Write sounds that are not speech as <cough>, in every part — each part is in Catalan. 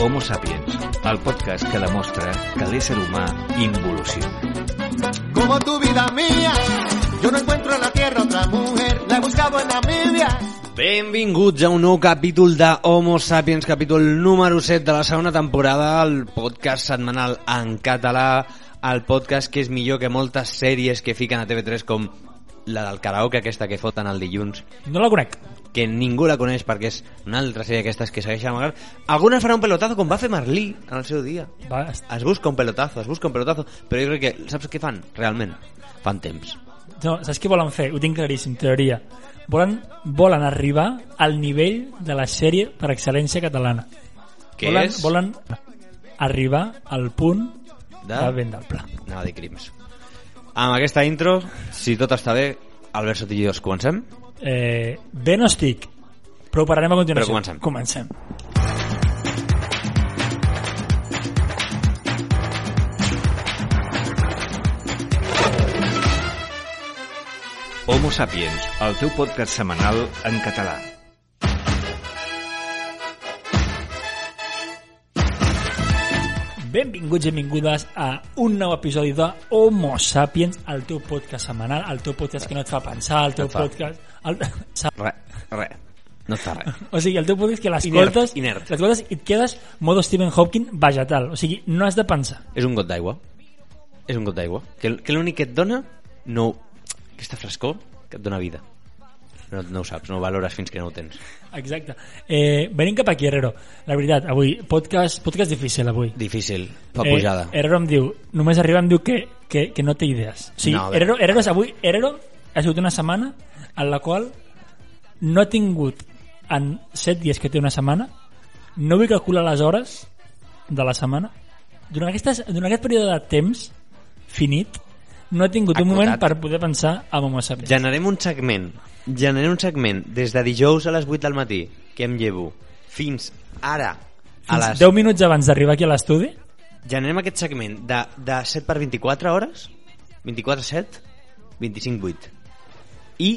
Homo Sapiens, el podcast que demostra que l'ésser humà involuciona. Como tu vida mía, yo no encuentro en la tierra otra mujer, la he buscado en Namibia. Benvinguts a un nou capítol de Homo Sapiens, capítol número 7 de la segona temporada, el podcast setmanal en català, el podcast que és millor que moltes sèries que fiquen a TV3 com la del karaoke aquesta que foten el dilluns, No la conec. que ningú la coneix perquè és una altra sèrie d'aquestes que segueix amagant. Alguna farà un pelotazo com va fer Merlí en el seu dia. Va, est- Es busca un pelotazo, es busca un pelotazo, però jo crec que saps què fan, realment? Fan temps. no, saps què volen fer? Ho tinc claríssim, teoria. Volen, volen arribar al nivell de la sèrie per excel·lència catalana. Que volen, és... volen arribar al punt de, De- de Vendalpla. Anava a dir crims. Amb aquesta intro, si tot està bé, Albert Sotillos, comencem? Eh, bé no estic, però ho parlarem a continuació. Però comencem. Comencem. Homo Sapiens, el teu podcast setmanal en català. Benvinguts i benvingudes a un nou episodi de Homo Sapiens, el teu podcast setmanal, el teu podcast que no et fa pensar, el teu et fa. podcast... El... <laughs> Re, re. No et fa res. O sigui, el teu podcast és que l'escoltes Inert, inert. l'escoltes i et quedes modo Stephen Hawking vegetal. O sigui, no has de pensar. És un got d'aigua. És un got d'aigua. Que, que l'únic que et dona, no... Aquesta frescor que et dona vida. No, no ho saps, no ho valores fins que no ho tens. Exacte. Eh, venim cap aquí, Herrero. La veritat, avui, podcast, podcast difícil, avui. Difícil, fa pujada. Eh, Herrero em diu, només arriba em diu que, que, que no té idees. O sigui, No, a no, veure. Herrero, Herrero, és avui, Herrero ha sigut una setmana en la qual no ha tingut en 7 dies que té una setmana no vull calcular les hores de la setmana durant, aquestes, durant aquest període de temps finit no ha tingut un Acotat. moment per poder pensar en Homo Sapiens Generem un segment. Generem un segment des de dijous a les 8 del matí, que em llevo, fins ara, a Fins les 10 minuts abans d'arribar aquí a l'estudi generem aquest segment de, de 7 per 24 hores 24 7 25 8 i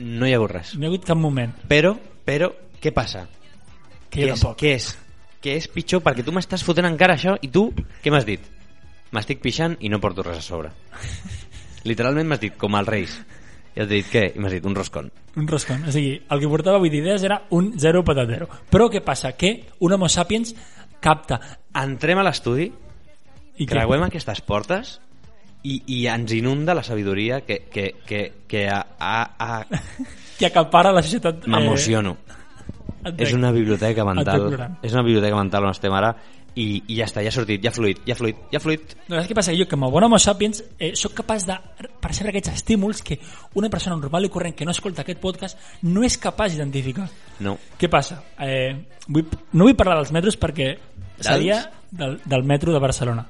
no hi ha hagut res no hi ha hagut cap moment però, però, què passa? que què, jo és, tampoc què és? Què és pitjor? Perquè tu m'estàs fotent encara això i tu, què m'has dit? M'estic pixant i no porto res a <laughs> sobre literalment m'has dit com els reis i has dit què? i m'has dit un roscon Un roscon. O sigui, el que portava avui d'idees era un zero patatero. Però què passa? Que un homo sapiens capta. entrem a l'estudi I què? creuem aquestes portes i, i ens inunda la sabidoria que, que, que, que ha, ha, ha Que acapara la societat... eh, M'emociono. et Eh, veig. és una biblioteca Et veig mental. plorant. És una biblioteca mental on estem ara i, i ja està, ja ha sortit, ja ha fluït, ja ha fluït, ja ha fluït. No, saps què passa? Que jo, com a bon homo sapiens, eh, sóc capaç de percebre aquests estímuls que una persona normal i corrent que no escolta aquest podcast no és capaç d'identificar. No. Què passa? Eh, vull, no vull parlar dels metros perquè seria del, del metro de Barcelona.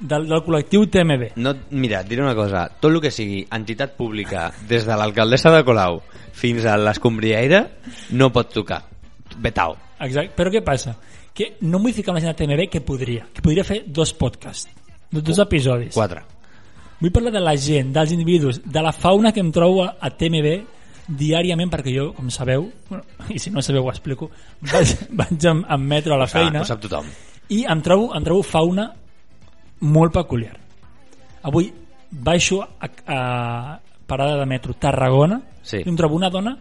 Del, del col·lectiu TMB. no mira, et diré una cosa. Tot el que sigui entitat pública, des de l'alcaldessa de Colau fins a l'escombriaire, no pot tocar. Betao. Exacte. Però què passa? Que no vull ficar amb la gent de TMB que podria, que podria fer dos podcasts, dos, dos episodis. Quatre. Vull parlar de la gent, dels individus, de la fauna que em trobo a, a TMB diàriament, perquè jo, com sabeu, bueno, <laughs> i si no sabeu ho explico, vaig, <laughs> vaig amb, amb metro a la feina Ah, ho sap tothom. i em trobo, em trobo fauna molt peculiar. Avui baixo a, a parada de metro Tarragona Sí. i em trobo una dona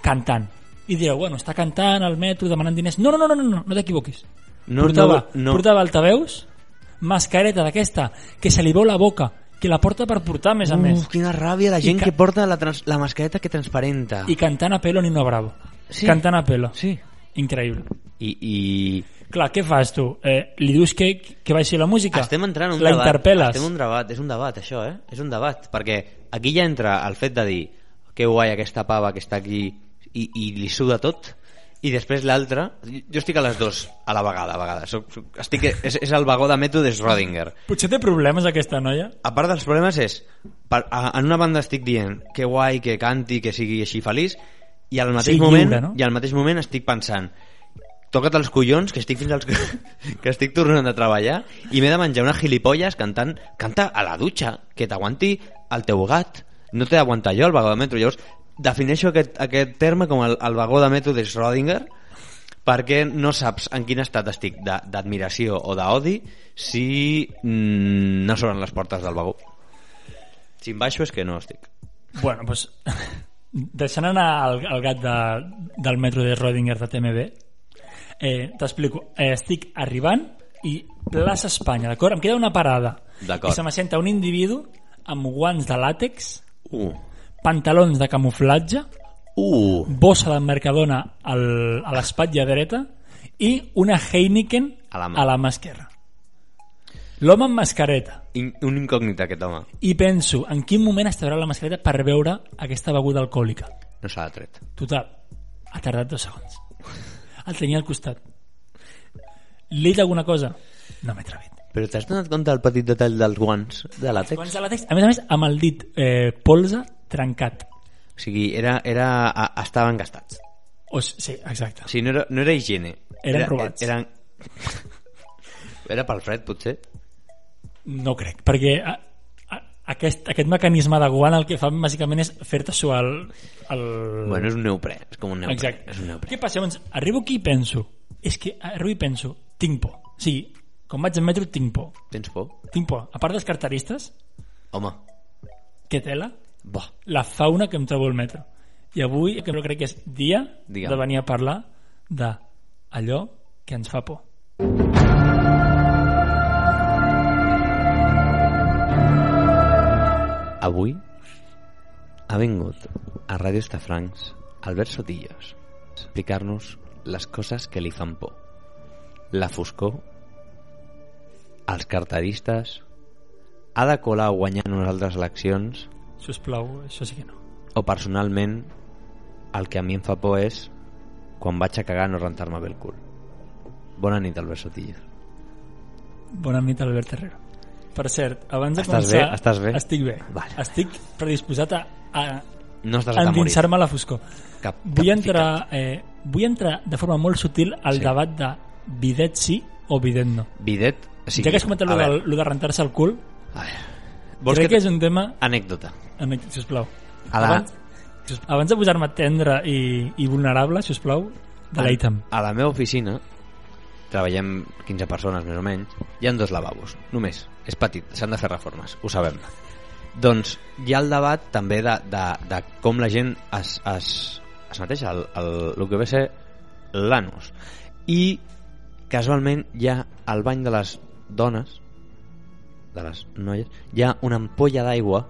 cantant. I direu, bueno, està cantant al metro demanant diners. No, no, no, no, no, no t'equivoquis. No, portava, no, no. portava altaveus, mascareta d'aquesta, que se li veu la boca, que la porta per portar, a més a més. Uf, quina ràbia la gent I ca- que porta la, trans, la mascareta que transparenta. I cantant a pelo Nino Bravo. Sí. Cantant a pelo. Sí. Increïble. I, i Clar, què fas tu? Eh, li dius que, que baixi la música? Estem entrant en un la debat. interpel·les. Estem en un debat, és un debat això, eh? És un debat, perquè aquí ja entra el fet de dir que guai aquesta pava que està aquí i, i li suda tot, i després l'altra... Jo estic a les dues a la vegada, a vegades. Soc, soc, estic, és, és el vagó de mètode Schrödinger. Potser té problemes aquesta noia? A part dels problemes és, per, a, en una banda estic dient que guai, que canti, que sigui així feliç, i al mateix Sigui moment lliure, no? i al mateix moment estic pensant toca't els collons que estic fins als... <laughs> que estic tornant a treballar i m'he de menjar unes gilipolles cantant canta a la dutxa, que t'aguanti el teu gat, no t'he d'aguantar jo el vagó de metro, llavors defineixo aquest, aquest terme com el, el vagó de metro de Schrödinger perquè no saps en quin estat estic de- d'admiració o d'odi si mm, no s'obren les portes del vagó si em baixo és que no estic Bueno, doncs... <laughs> Deixant anar el, el gat de, del metro de Rodinger de TMB, eh, t'explico. Eh, estic arribant i plaça Espanya, d'acord? Em queda una parada. D'acord. I se m'assenta un individu amb guants de làtex, uh, pantalons de camuflatge, uh, bossa de Mercadona al, a l'espatlla dreta i una Heineken A la mà. a la mà esquerra. L'home amb mascareta. in, un incògnit aquest home I penso, en quin moment es traurà la mascareta per veure aquesta beguda alcohòlica? no s'ha tret Total, ha tardat dos segons. El tenia al costat. Li he dit alguna cosa? No m'he atrevit. però t'has donat compte del petit detall dels guants de làtex? Quants de làtex? A més a més, amb el dit eh, polze trencat. O sigui, era, era, a- estaven gastats. O, s- sí, exacte. O sigui, no era, no era higiene. Eren era, robats. Eren... <laughs> Era pel fred, potser. No ho crec, perquè a, a, aquest, aquest mecanisme de guant el que fa bàsicament és fer-te suar el... el... Bueno, és un neoprè, és com un neoprè. Exacte. És un neoprè. Què passa? Llavors, arribo aquí i penso, és que arribo i penso, tinc por. O sigui, quan vaig al metro tinc por. Tens por? Tinc por. A part dels carteristes, Home, que tela, bo. la fauna que em trobo al metro. I avui que crec que és dia Digue'm. de venir a parlar de allò que ens fa por. Avui ha vingut a Ràdio Estafrancs Albert Sotillos a explicar-nos les coses que li fan por. La foscor, els carteristes, ha de colar guanyant unes altres eleccions Si us plau, això sí que no. o personalment el que a mi em fa por és quan vaig a cagar no rentar-me bé el cul bona nit Albert Sotillo Bona nit, Albert Herrero. Per cert, abans de Estàs començar... bé? Estàs bé? Estic bé. Vale. Estic predisposat a, a no estàs a morir endinsar-me a la foscor. cap, Vull cap entrar, eh, vull entrar de forma molt sutil al Sí. sí. debat de bidet sí o bidet no. ficat. bidet o Sí, sigui, ja que has comentat a lo de, veure, lo de rentar-se el cul, a veure. vols crec que, que és un tema... anècdota Amic, sisplau. A la- Abans, sis- abans de posar-me tendre i, i vulnerable, sisplau, deleitem. a la meva oficina treballem 15 persones més o menys hi han dos lavabos, només és petit, s'han de fer reformes, ho sabem doncs hi ha el debat també de, de, de com la gent es, es, es neteja el, el, el que ve a ser l'anus i casualment hi ha al bany de les dones de les noies hi ha una ampolla d'aigua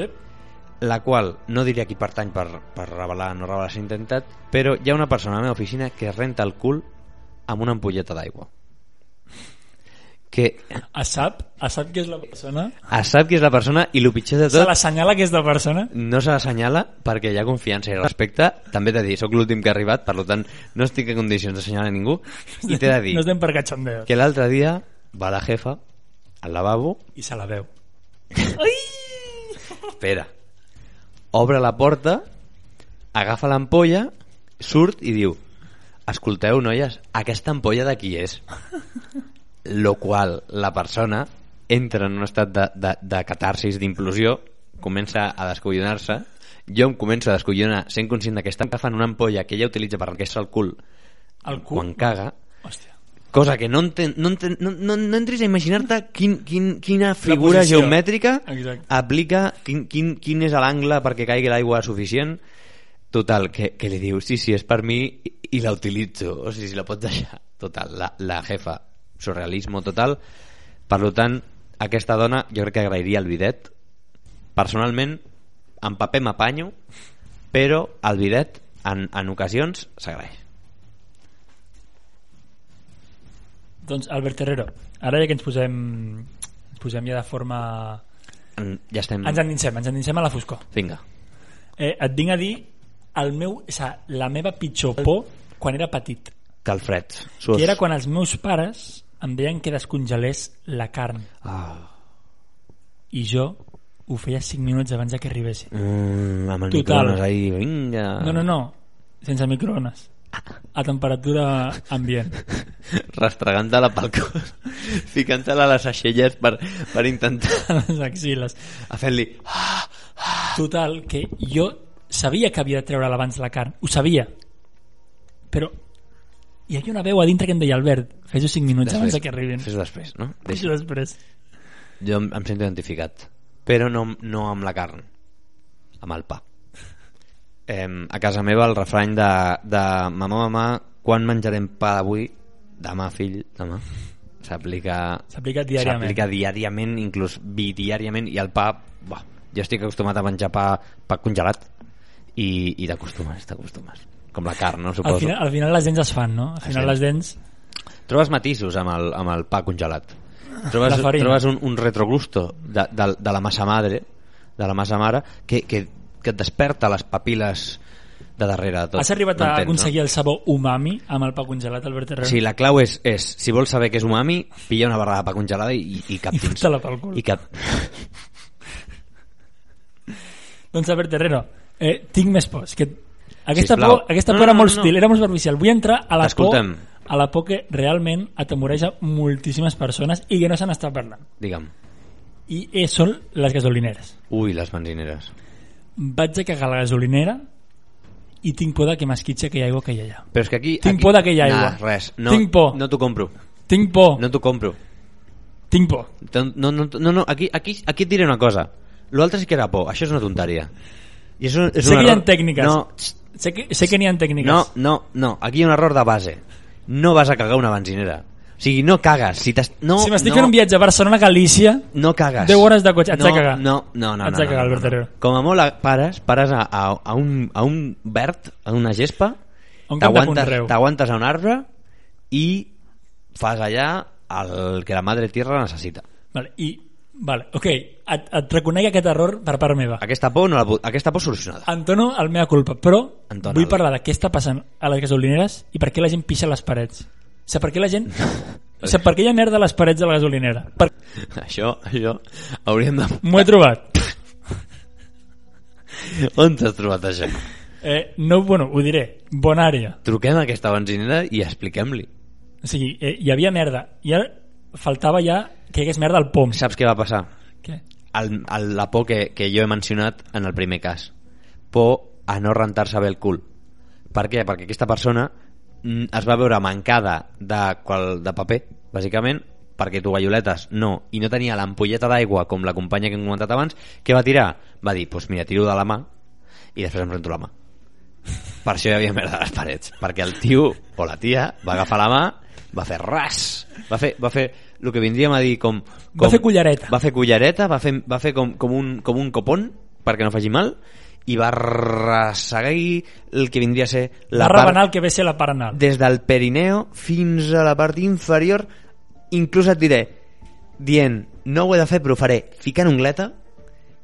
Eh? la qual no diré a qui pertany per, per revelar o no revelar la identitat, però hi ha una persona a la meva oficina que es renta el cul amb una ampolleta d'aigua. Que A sap, a sap que és la persona? es sap qui és la persona i el pitjor de Se tot l'assenyala que és la persona? no se l'assenyala perquè hi ha confiança i respecte. També t'he de dir, sóc l'últim que ha arribat, per lo tant no estic en condicions d'assenyalar ningú. I <laughs> t'he de dir No estem per catxandeo. que l'altre dia va la jefa al lavabo I se la veu. Espera. Obre la porta, agafa l'ampolla, surt i diu Escolteu, noies, aquesta ampolla de qui és? Lo qual la persona entra en un estat de, de, de catarsis, d'implosió, comença a descollonar-se, jo em començo a descollonar sent conscient que estan agafant una ampolla que ella utilitza per enquestar el cul, El cul. quan caga, Hòstia. cosa que no, enten, no, enten, no, no, no entris a imaginar-te quin, quin, quina figura posició. geomètrica Exacte. aplica, quin, quin, quin és l'angle perquè caigui l'aigua suficient total, que, que li diu sí, sí, és per mi i, i la utilitzo o sigui, si la pots deixar total, la, la jefa, surrealisme total per lo tant, aquesta dona jo crec que agrairia el bidet personalment, en paper m'apanyo però el bidet en, en ocasions s'agraeix Doncs, Albert Herrero, ara ja que ens posem, ens posem ja de forma... En- ja estem... Ens endinsem, ens endinsem a la foscor. Vinga. Eh, et vinc a dir el meu, o sigui, la meva pitjor por quan era petit. Calfred. Suos. Que era quan els meus pares em deien que descongelés la carn. Ah. i jo ho feia 5 minuts abans de que arribessin. Mm, amb el Total. microones ahí, vinga. No, no, no, sense microones. a temperatura ambient. <laughs> Rastregant-te-la pel cos, <laughs> ficant-te-la a les aixelles per, per intentar... <laughs> A les axiles. A fer-li... Ah, Total, que jo sabia que havia de treure abans la carn. Ho sabia. Però hi havia una veu a dintre que em deia Albert, fes-ho 5 minuts després, abans de que arribin. Fes després, no? Deixa Deixa. després. Jo em, em sento identificat, però no, no amb la carn, amb el pa. Em, a casa meva el refrany de, de mamà, mamà, quan menjarem pa avui? Demà, fill, demà. S'aplica S'aplica diàriament. S'aplica diàriament, inclús bidiàriament, i el pa, bah, jo estic acostumat a menjar pa, pa congelat i, i t'acostumes, t'acostumes. Com la carn, no? Suposo. Al final, al final les dents es fan, no? Al final sí. les dents... Trobes matisos amb el, amb el pa congelat. Trobes, La farina. trobes un, un retrogusto de, de, de la massa madre, de la massa mare, que, que, que et desperta les papil·les de darrere de tot. Has arribat a M'entens, aconseguir el sabor umami amb el pa eh? congelat, Albert No? Herrero? Sí, la clau és, és, si vols saber què és umami, pilla una barra de pa congelada i, i cap I dins. fot-te-la pel cul. I cap... Doncs Albert Herrero, eh, tinc més pors. Que aquesta Sisplau. por, aquesta No, por era no, molt no, no. sutil, era molt superficial. Vull entrar a la por, T'escoltem. a la por que realment atemoreja moltíssimes persones i que no se n'està parlant. Digue'm. I eh, són les gasolineres. Ui, les benzineres. Vaig a cagar a la gasolinera i tinc por de que m'esquitxi aquella aigua que hi ha allà. Però és que aquí... Tinc aquí... por d'aquella aigua. Nah, res. No, Tinc por. No t'ho compro. Tinc por, No t'ho compro. tinc por. No, no, no, no aquí, aquí, aquí et diré una cosa. L'altre sí que era por. Això és una tonteria. I és un, és sé un que hi ha error... tècniques. No, txt, Sé que, sé que n'hi ha tècniques. no, no, no. Aquí hi ha un error de base. No vas a cagar una benzinera. O sigui, no cagues. Si, t'es- no, si m'estic no, fent un viatge a Barcelona-Galícia, no cagues. 10 hores de cotxe, haig no, de cagar. No, no, no. Haig no, de no, cagar, no, Albert no, Herrero. Com a molt a- pares, pares a, a, a, un, a un verd, a una gespa, A un camp de t'aguantes conreu. t'aguantes a un arbre i fas allà el que la madre tierra necessita. Vale, i, vale, ok, et, et reconec aquest error per part meva. Aquesta por, no la, pu- aquesta por solucionada. Entono el meva culpa, però Entona'l. vull parlar de què està passant a les gasolineres i per què la gent pixa a les parets. O sigui, per què la gent... O sigui, per què hi ha merda a les parets de la gasolinera? Per... <laughs> Això, això, hauríem de... <laughs> M'ho he trobat. On t'has trobat això? Eh, no, bueno, ho diré. Bona àrea. Truquem a aquesta benzinera i expliquem-li. O sigui, eh, hi havia merda. I ara faltava ja que hi hagués merda al pom. Saps què va passar? Què? El, el, la por que, que jo he mencionat en el primer cas. Por a no rentar-se bé el cul. Per què? Perquè aquesta persona mm, es va veure mancada de, qual, de paper, bàsicament, perquè tovalloletes no, i no tenia l'ampolleta d'aigua com la companya que hem comentat abans, que va tirar? Va dir, doncs pues mira, tiro de la mà i després em rento la mà. Per això hi havia merda a les parets, perquè el tio o la tia va agafar la mà, va fer ras, va fer, va fer el que vindríem a dir com... com Va fer cullereta. Va fer cullereta, va fer, va fer com, com, un, com un copon, perquè no faci mal, i va ressegar el que vindria a ser La la part... part banal que ve a ser la part anal. des del perineo fins a la part inferior inclús et diré dient, no ho he de fer però ho faré ficant ungleta,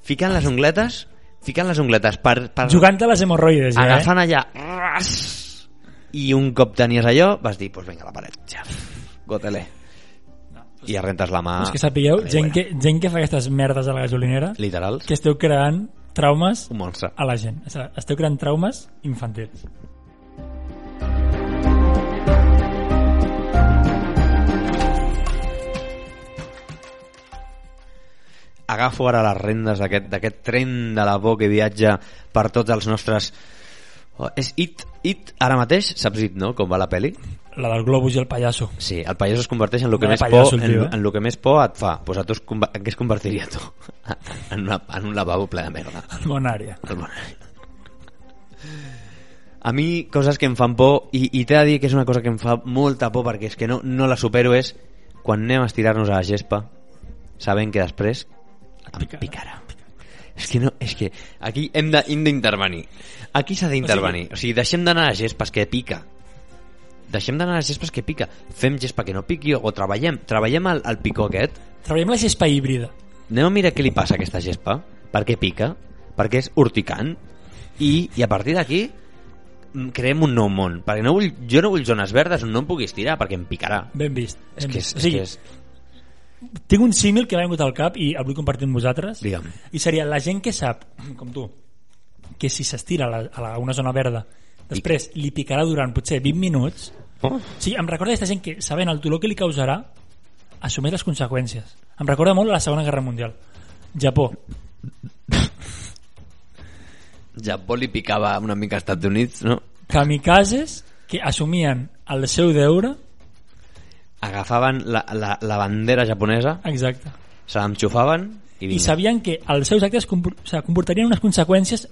ficant les ungletes ficant les ungletes per, per Jugant a les hemorroides, ja, eh? agafant allà ras, i un cop tenies allò vas dir, doncs pues vinga a la paret ja, gotele i ja rentes la mà Ah, És que sapigueu, a la gent aigüera. que, gent que fa aquestes merdes a la gasolinera, literals, que esteu creant traumes un monstre a la gent. O sigui, esteu creant traumes infantils. agafo ara les rendes d'aquest d'aquest tren de la por que viatja per tots els nostres... Oh, és It, It ara mateix, saps It, no?, com va la peli? La del globus i el pallasso. Sí, el pallasso es converteix en el que, Vaya més, pallasso, por, el tio, en, eh? en lo que més por et fa. Pues a tu es, conver- en què es convertiria tu? <laughs> En, una, en un lavabo ple de merda. Bona àrea. El bon any. A mi, coses que em fan por, i, i t'he de dir que és una cosa que em fa molta por perquè és que no, no la supero, és quan anem a estirar-nos a la gespa sabent que després em picarà. picarà. És que no, és que aquí hem de- hem d'intervenir. Aquí s'ha d'intervenir. O sigui, deixem d'anar a gespes que pica. Deixem d'anar a gespes que pica. Fem gespa que no piqui o treballem. Treballem el, el picó aquest Treballem la gespa híbrida. anem a mirar què li passa a aquesta gespa, per què pica, per què és urticant, i, i a partir d'aquí mm, creem un nou món, perquè no vull, jo no vull zones verdes on no em puguis tirar perquè em picarà. Ben vist. És ben que és, és, vist. o sigui, que és Tinc un símil que m'ha vingut al cap i el vull compartir amb vosaltres. Digue'm. I seria la gent que sap, com tu, que si s'estira a, la, a la, una zona verda Després li picarà durant potser 20 minuts. Oh. Sí, em recorda aquesta gent que, sabent el dolor que li causarà, assumeix les conseqüències. Em recorda molt a la Segona Guerra Mundial. Japó. Japó li picava una mica als Estats Units, no? Kamikazes que assumien el seu deure Agafaven la, la, la bandera japonesa, exacte. se l'enxufaven i, I vinga. sabien que els seus actes compor- o sigui, comportarien unes conseqüències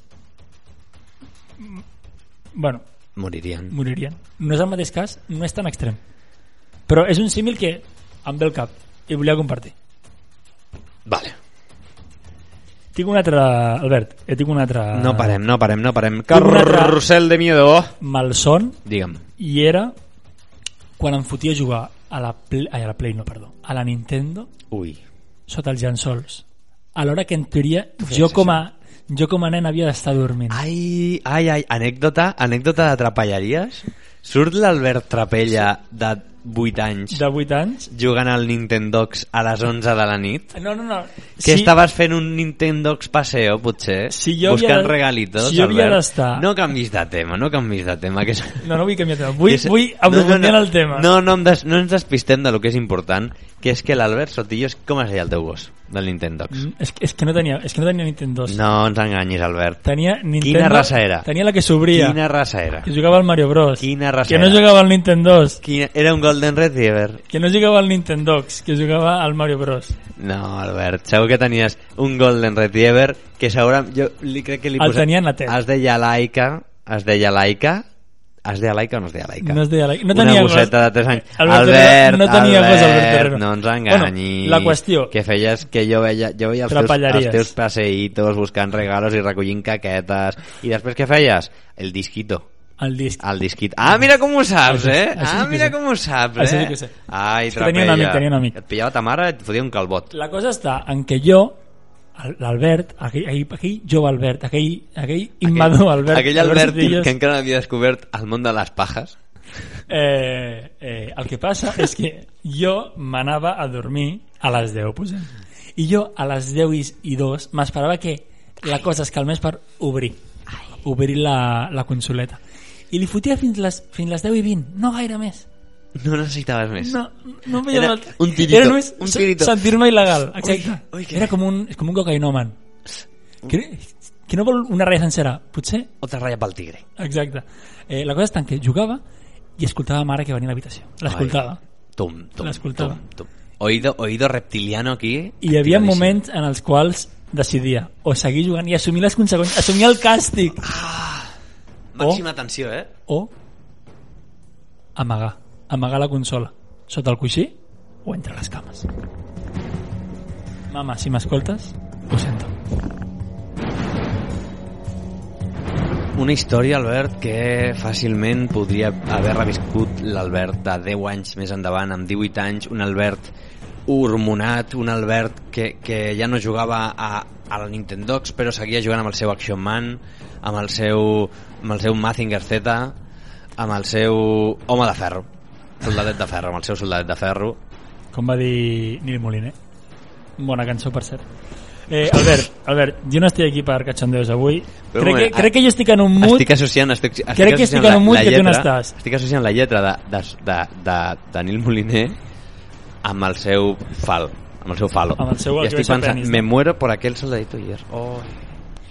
mm, bueno, moririen. moririen. No és el mateix cas, no és tan extrem. Però és un símil que em ve al cap i volia compartir. Vale. Tinc un altre, Albert, eh, tinc un altre... No parem, no parem, no parem. una altra- Carrusel de miedo. Malson Digue'm. i era quan em fotia a jugar a la, Play, ai, a la Play, no, perdó, a la Nintendo Ui. sota els llençols. Alhora que en teoria jo com a, jo com a nen havia d'estar dormint. Ah, Ai, ai, ai, anècdota, anècdota de trapelleries. Surt l'Albert Trapella de 8 anys De 8 anys. jugant al Nintendox a les 11 de la nit. No, no, no. Que estaves fent un Nintendox paseo, potser, Si jo buscant havia de- regalitos, si jo havia Albert. d'estar- No canvis de tema, no canvis de tema. Que és... No, no vull canviar de tema. Vull, És- vull aprofundir en el tema. No, no, em des, no ens despistem de lo que és important, que és que l'Albert Sotillo és com es deia el teu gos, del Nintendox. Mm, És, que- és que no tenia, és que no tenia Nintendo 2. No ens enganyis, Albert. Tenia Nintendo... Quina raça era? Tenia la que s'obria. Quina raça era? Que jugava al Mario Bros. Quina raça Que no era? jugava al Nintendo 2. Quina... Era un Golden Retriever. Que no jugava al Nintendox. Que jugava al Mario Bros. No, Albert, segur que tenies un Golden Retriever que segura... Jo li crec que li El tenia en la tele. Es deia Laika, es deia Laika, es deia Laika o no es deia Laika? No es deia Laika. No tenia Una gosseta gos. de 3 anys. Albert Albert, Herrero, Albert, no tenia gos, Albert Herrero. no ens Bueno, enganyis. la qüestió. Que feies que jo veia, jo veia els, teus, Trapalleries. els teus passeitos buscant regalos i recollint caquetes. I després què feies? El disquito. El disc. El disquit. Ah, mira com ho saps, eh? Això sí Ah, que mira sé. com ho saps, eh? Això sí que sé. Ai, És que tenia un trapella. amic, tenia un amic. Et pillava ta mare i et fotia un calbot. La cosa està en que jo, el- l'Albert, aquell, aquell, aquell jove Albert, aquell, aquell immadur Albert, Aquell Albert Sotillos, que encara no havia descobert el món de les pajes. Eh, eh, el que passa és que jo m'anava a dormir a les 10, posem. I jo a les 10 i, i 2 m'esperava que la cosa es calmés per obrir. Obrir la, la consoleta. I li fotia fins les, fins les 10 i 20, no gaire més. No necessitaves més. No, no em veia Era l'altre. un tirito, Era només un se- tirito. sentir-me il·legal, exacte. Ui, ui, que- Era com un, com un cocainòman. Que, que no vol una ratlla sencera, potser, Otra ratlla pel tigre. exacte. Eh, la cosa és tant que jugava i escoltava mare que venia a l'habitació. L'escoltava. Tum, tum, L'escoltava. tum, tum. Oído, oído reptiliano aquí. I hi havia activadíssim. moments en els quals decidia o seguir jugant i assumir les conseqüències, assumir el càstig Màxima tensió, eh? o amagar, amagar la consola sota el coixí o entre les cames. Mama, si m'escoltes, ho sento. Una història, Albert, que fàcilment podria haver reviscut l'Albert de 10 anys més endavant, amb 18 anys, un Albert hormonat, un Albert que, que ja no jugava a, a la Nintendox, però seguia jugant amb el seu Action Man, amb el seu, amb el seu Mazinger Z, amb el seu home de ferro, soldadet de ferro, amb el seu soldadet de ferro. Com va dir Nil Moliner. Bona cançó, per cert. Eh, Albert, Albert, jo no estic aquí per catxandeus avui. Però Crec un que, moment, ah, crec que jo estic en un mood... Estic associant, estic, estic Crec que associant estic en un mood la que tu no lletra- estàs. Estic associant la lletra de, de, de, de, de Nil Moliner amb el seu fal, amb el seu falo. Amb el seu- I el que va estic ser pensant, pianista. me muero por aquel soldadito ayer. Oh,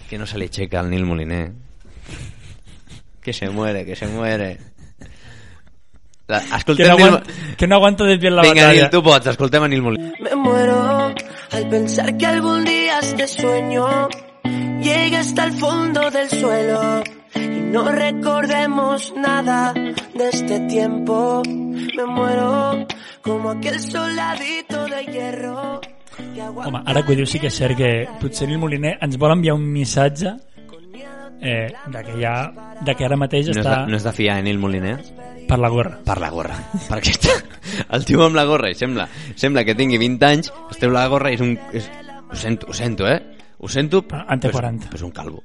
que no se le aixeca al Nil Moliner. Que se muere, que se muere. La, Que escoltem no, Nil... aguanta, que no aguanta desviar la Vinga, batalla. Nil, tu pots, escoltem a Nil Moliner. Me muero al pensar que algún día este sueño llegue hasta el fondo del suelo y no recordemos nada de este tiempo. Me muero como aquel soldadito de hierro. que aguanta Home, ara que ho dius sí que és cert que potser Nil Moliner ens vol enviar un missatge eh, de, que ja, de que ara mateix No és, de, està no és de fiar, eh, Nil Moliner? per la gorra. per la gorra. Perquè està el tio amb la gorra i sembla, sembla que tingui 20 anys, es treu la gorra i és un... És, ho sento, ho sento, eh? Ho sento, Ah, en té 40. Però és un calvo.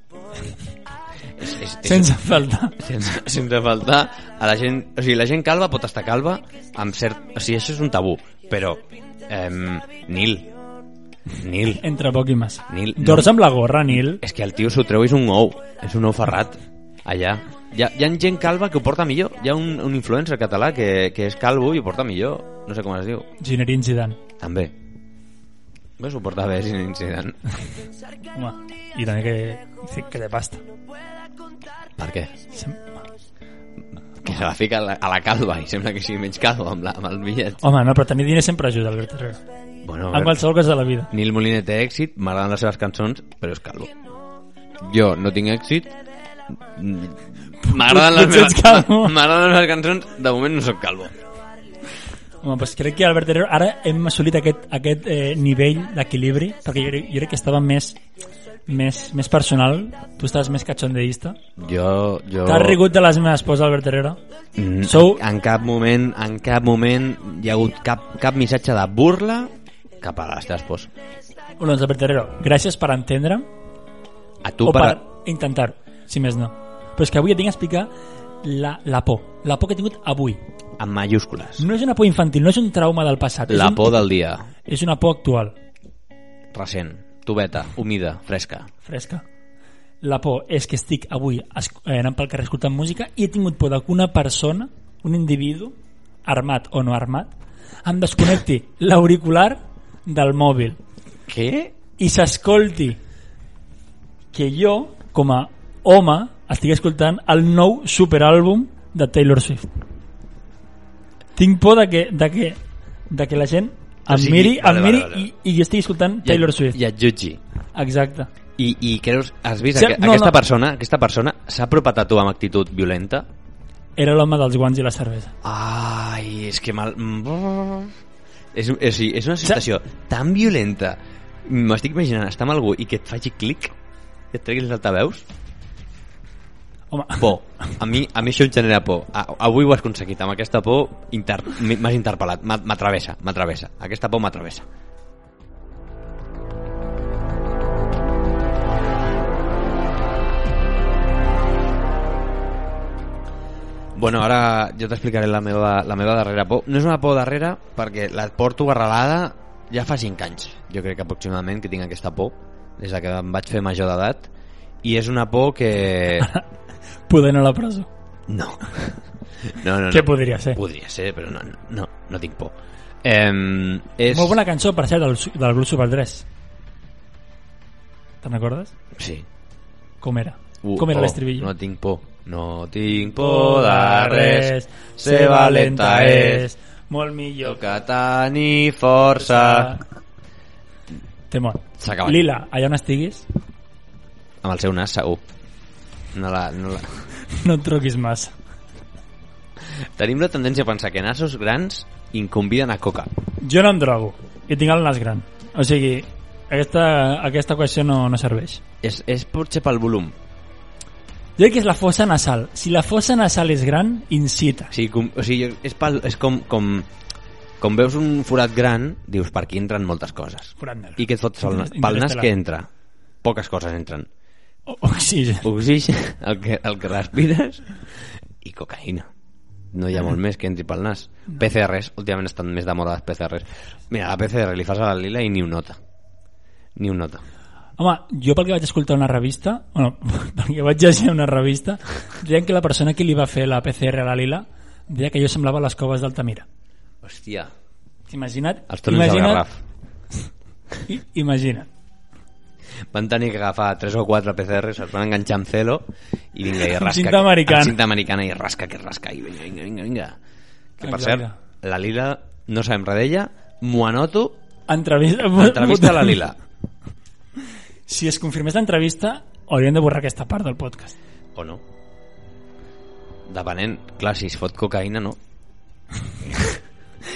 és, és, és, Sense falta. sense, sense faltar a la gent... O sigui, la gent calva pot estar calva amb cert... O sigui, això és un tabú, però... Ehm, Nil. Nil. Entre poc i massa. Nil, no. Dors amb la gorra, Nil. És que el tio s'ho treu i és un ou. És un ou ferrat. allà. Hi ha, hi ha gent calva que ho porta millor. Hi ha un, un influencer català que, que és calvo i ho porta millor. No sé com es diu. Ginerín Zidane. També. Ves ho portar bé, si no incident. Home, i també que, que té pasta. <laughs> Per què? Sem- Que se la fica a la, a la calva i sembla que sigui menys calva amb, la, amb el bitllet. Home, no, però tenir diners sempre ajuda, Albert Herrera. Bueno, a En veure, qualsevol cas de la vida. Nil Moliner té èxit, m'agraden les seves cançons, però és calvo. Jo no tinc èxit. M'agraden les, Potser ets meves- calvo. <laughs> m'agraden les meves cançons, de moment no sóc calvo. Home, doncs crec que Albert Herrero ara hem assolit aquest, aquest eh, nivell d'equilibri, perquè jo, crec- jo crec que estava més, més, més personal, tu estaves més cachondeista. Jo... jo... T'has rigut de les meves pors, Albert Herrero? Mm, Sou- En cap moment, en cap moment hi ha hagut cap, cap missatge de burla cap a les teves pors. Oh, doncs, Albert Herrero, gràcies per entendre'm A tu o per... per, intentar-ho, si més no. Però és que avui et vinc a explicar la, la por, la por que he tingut avui. en majúscules. No és una por infantil, no és un trauma del passat. La és, un, por del dia. és una por actual, Recent. Tubeta, humida, fresca. fresca. La por és que estic avui es- eh, anant pel carrer escoltant música i he tingut por d'alguna persona, un individu, armat o no armat, em desconnecti l'auricular del mòbil Què? i s'escolti que jo, com a home, estic escoltant el nou superàlbum de Taylor Swift. Tinc por de que, de que, de que la gent em O sigui, miri, vale, em vale, miri vale. I, i jo estic escoltant Taylor Swift. I et jutgi. Exacte. I, I creus, has vist, Sí, sí, no, aquesta, no. persona, aquesta persona s'ha apropat a tu amb actitud violenta? Era l'home dels guants i la cervesa. Ai, és que mal... mm, És, és, és una sensació tan violenta. M'estic imaginant estar amb algú i que et faci clic, que et treguis els altaveus. Home, <laughs> Por. A mi, a mi això em genera por. A, avui ho has aconseguit. Amb aquesta por inter, m'has interpel·lat. M'a- M'atravessa, m'atravessa. Aquesta por m'atravessa. Bueno, ara jo t'explicaré la meva, la meva darrera por. No és una por darrera, perquè la porto arrelada ja fa 5 anys. Jo crec que aproximadament que tinc aquesta por, des de que em vaig fer major d'edat. I és una por que... poder anar a la presó. No. No, no, no. Què podria ser? Podria ser, però no, no, no tinc por. Eh, és... Molt bona cançó, per cert, del, su- del grup Super 3. Te'n recordes? Sí. Com era? Uh, Com era oh, l'estribillo? No tinc por. No tinc por de res. Ser valenta és. molt Jo millor que que tenir força. Temor. S'ha acabat. Lila, allà on estiguis, Amb el seu nas, segur. No la, no la... no et troquis massa. Tenim la tendència a pensar que nassos grans inconviden a coca. Jo no em drogo i tinc el nas gran. O sigui, aquesta, aquesta qüestió no, no serveix. És, és potser pel volum. Jo crec que és la fossa nasal. Si la fossa nasal és gran, incita. O sigui, com, o sigui és, pel, és com, com, com veus un forat gran, dius per aquí entren moltes coses. Forat negre. I què et fots pel nas? Pel nas que entra. Poques coses entren. O- Oxigen. Oxigen, el que, el que respires, i cocaïna. No hi ha molt més que entri pel nas. PCRs, últimament estan més de moda les PCRs. Mira, la PCR li fas a la Lila i ni ho nota. Ni ho nota. Home, jo pel que vaig escoltar una revista, bueno, <laughs> pel que vaig llegir una revista, deien que la persona que li va fer la PCR a la Lila deia que jo semblava les coves d'Altamira. Hòstia. T'imagina't? Els tornes al Garraf. i, imagina't. Van tenir que agafar 3 o 4 PCRs, es van enganxar amb celo i vinga, i rasca. cinta que- americana. amb Cinta americana i rasca, que rasca, i vinga, vinga, vinga, vinga. Que per Exacte. cert, la Lila, no sabem res d'ella, m'ho anoto, Entrevista, entrevista a la Lila. Si es confirmés l'entrevista, hauríem de borrar aquesta part del podcast. <laughs> O no. Depenent, clar, si es fot cocaïna, no.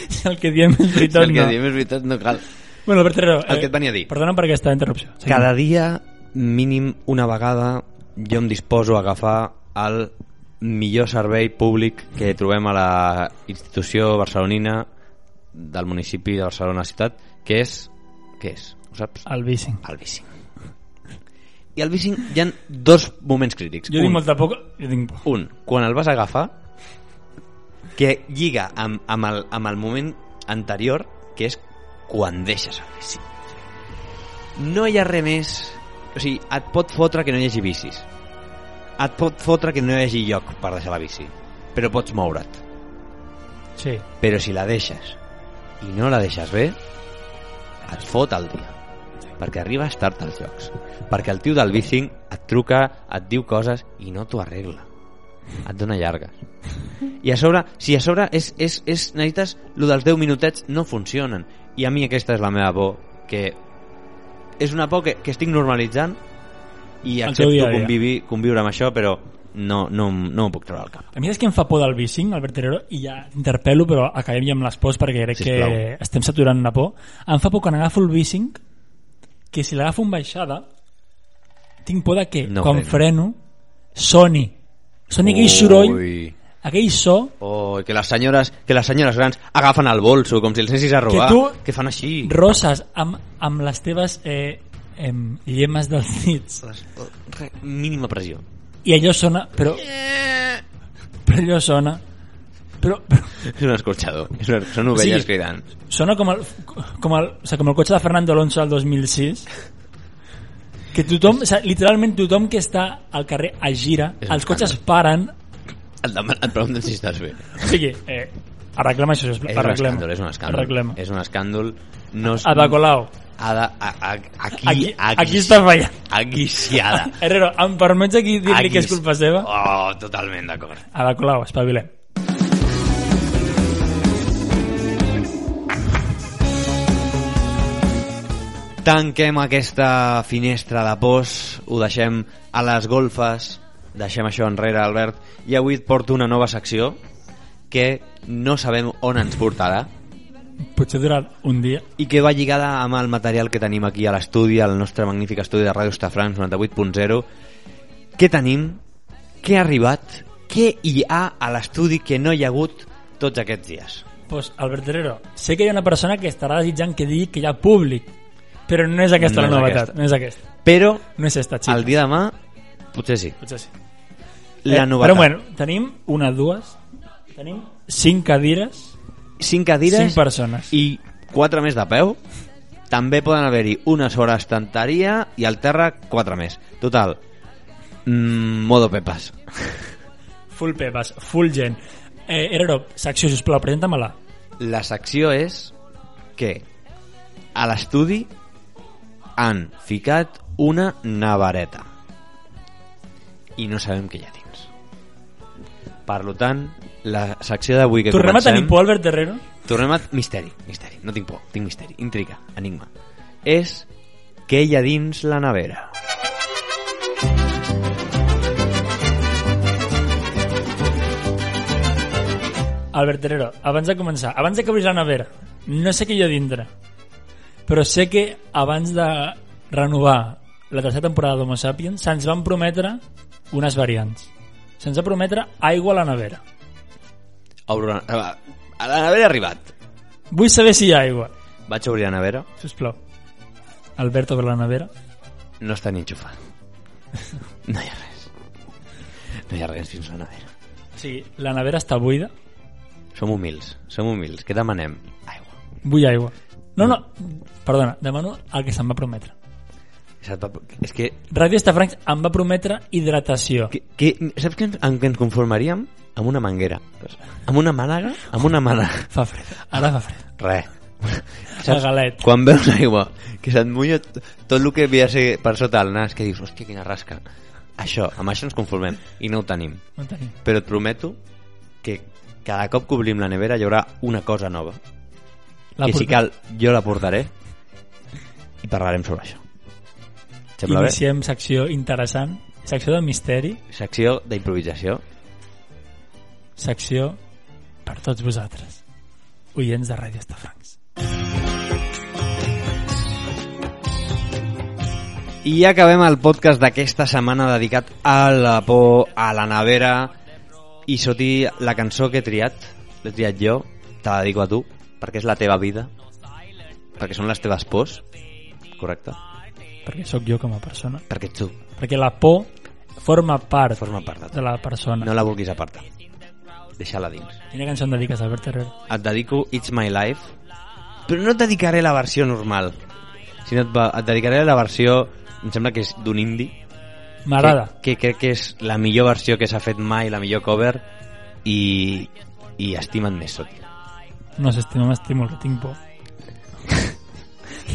Si el que diem és Si veritat, el que no. diem és veritat, no cal. Bueno, Albert Herrero, eh, El que et venia a dir. Perdona'm per aquesta interrupció. Seguim. Cada dia, mínim una vegada, jo em disposo a agafar el millor servei públic que trobem a la institució barcelonina del municipi de Barcelona ciutat, que és... Què és? Ho saps? El bicing. El bicing. I al bicing hi han dos moments crítics. Jo tinc Un, molta poc... Jo tinc... por. un, quan el vas a agafar, que lliga amb, amb, el, amb el moment anterior, que és quan deixes el bici. No hi ha res més... O sigui, et pot fotre que no hi hagi bicis. et pot fotre que no hi hagi lloc per deixar la bici, però pots moure't. Sí. Però si la deixes i no la deixes bé, et fot el dia. Perquè arribes tard als llocs. Perquè el tio del bicing et truca, et diu coses i no t'ho arregla. Et dona llargues. I a sobre, si a sobre és, és, és, necessites, lo dels 10 minutets no funcionen. I a mi aquesta és la meva por, que és una por que, que estic normalitzant i El teu accepto dia a dia. convivir, conviure amb això, però no, no, no m'ho puc treure al cap. A mi és que em fa por del bicing, Albert Terrero, i ja interpel·lo, però acabem ja amb les pors perquè crec Sisplau. que estem saturant la por. Em fa por quan agafo el bicing que si l'agafo en baixada tinc por de que No quan freno, soni. Soni aquell soroll, Ui. aquell so Oh, que les senyores, que les senyores grans agafen el bolso com si els anessis a robar. Que tu- Que fan així. roses amb, amb les teves eh, em, llemes dels dits oh, Re- Mínima pressió. i allò sona, però Eh. però allò sona però, però És un escorxador. És un, són ovelles Sí. sí. cridant. sona com el, com, el, o sigui, com el cotxe de Fernando Alonso del 2006 que tothom, o sigui, literalment tothom que està al carrer es gira, És els un cotxes paren Et, deman- et pregunten si estàs bé. o sigui, eh, arreglem això sisplau, És un arreglem, escàndol, és un escàndol. arreglem. És un escàndol. No és, Ada Colau, ha de, a, a, aquí, aquí, aquí està fallant Aquí s'hi ha de. Herrero, em permets aquí dir-li Aquí que és sí. culpa seva? Oh, totalment d'acord. Ada Colau, espavilem Tanquem aquesta finestra de pors, ho deixem a les golfes, deixem això enrere, Albert, i avui et porto una nova secció que no sabem on ens portarà potser durarà un dia i que va lligada amb el material que tenim aquí a l'estudi, al nostre magnífic estudi de Ràdio Estafrans 98.0. Què tenim? Què ha arribat? Què hi ha a l'estudi que no hi ha hagut tots aquests dies? Pues, Albert Herrero, sé que hi ha una persona que estarà desitjant que digui que hi ha públic, però no és aquesta No la és novetat, aquesta. no és aquesta. Però No és esta, sí. xica. el dia de demà, potser sí. Potser sí. La novetat. Eh, Però bueno, tenim una, dues, tenim cinc cadires, cinc cadires Cinc persones. i quatre més de peu també poden haver-hi una sobre estanteria i al terra quatre més total mm, modo pepes full pepes, full gent. Eh, Herrero, secció, sisplau, presenta-me-la. la secció és que a l'estudi han ficat una navareta i no sabem què hi ha dins per lo tant la secció d'avui que Tornem a comencem tenir por, Albert Herrero? Tornem a... Misteri, misteri. No tinc por, tinc misteri. Intriga, enigma. És què hi ha dins la nevera. Albert Herrero, abans de començar, abans de que obris la nevera, no sé què hi ha dintre, però sé que abans de renovar la tercera temporada d'Homo Sapiens se'ns van prometre unes variants. Se'ns va prometre aigua a la nevera. Obro la... eh, va, A la nevera ha arribat. Vull saber si hi ha aigua. Vaig obrir la nevera, Sisplau. Albert obre la nevera. no està ni enxufada. <laughs> No hi ha res. No hi ha res fins a la nevera. O sigui, la nevera està buida. Som humils, som humils. Què demanem? Aigua. Vull aigua. No, no, perdona, demano el que se'm va prometre. Se't va- És que... Ràdio Estafrancs em va prometre hidratació. que, que saps que ens- amb què ens conformaríem? Amb una manguera. Amb una mànega? Amb una mànega. <laughs> Fa fred, ara fa fred. Res. El galet. Quan veus aigua, que se't mulla t- tot el que havia de ser per sota el nas, que dius, hòstia, quina rasca. Això, amb això ens conformem, i no ho tenim. No en tenim. Però et prometo que cada cop que obrim la nevera hi haurà una cosa nova. La que si porta- cal, jo la portaré i parlarem sobre això. Et Sembla bé? Iniciem secció interessant, secció de misteri, Secció d'improvisació. secció per tots vosaltres, oients de Ràdio Estafrancs. I acabem el podcast d'aquesta setmana dedicat a la por, a la nevera i Soti, la cançó que he triat, l'he triat jo, te la dedico a tu, perquè és la teva vida, perquè són les teves pors, correcte? Perquè sóc jo com a persona. Perquè ets tu, Perquè la por forma part forma part de de tu. la persona. No la vulguis apartar. Deixa-la dins. Quina cançó em dediques, Albert Herrero? Et dedico It's My Life, però no et dedicaré la versió normal, sinó et, va- et dedicaré la versió, em sembla que és d'un indie, M'agrada. Que, que crec que és la millor versió que s'ha fet mai, la millor cover, i, i estima't més, Sot. No s'estima, m'estimo, que tinc por.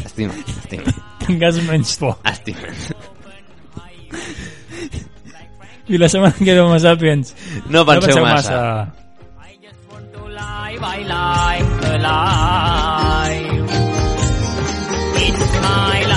Estima't, estima't, Tingues menys por. estima't. I la setmana que ve Homo Sapiens. No penseu massa. life, I like the life. It's my life.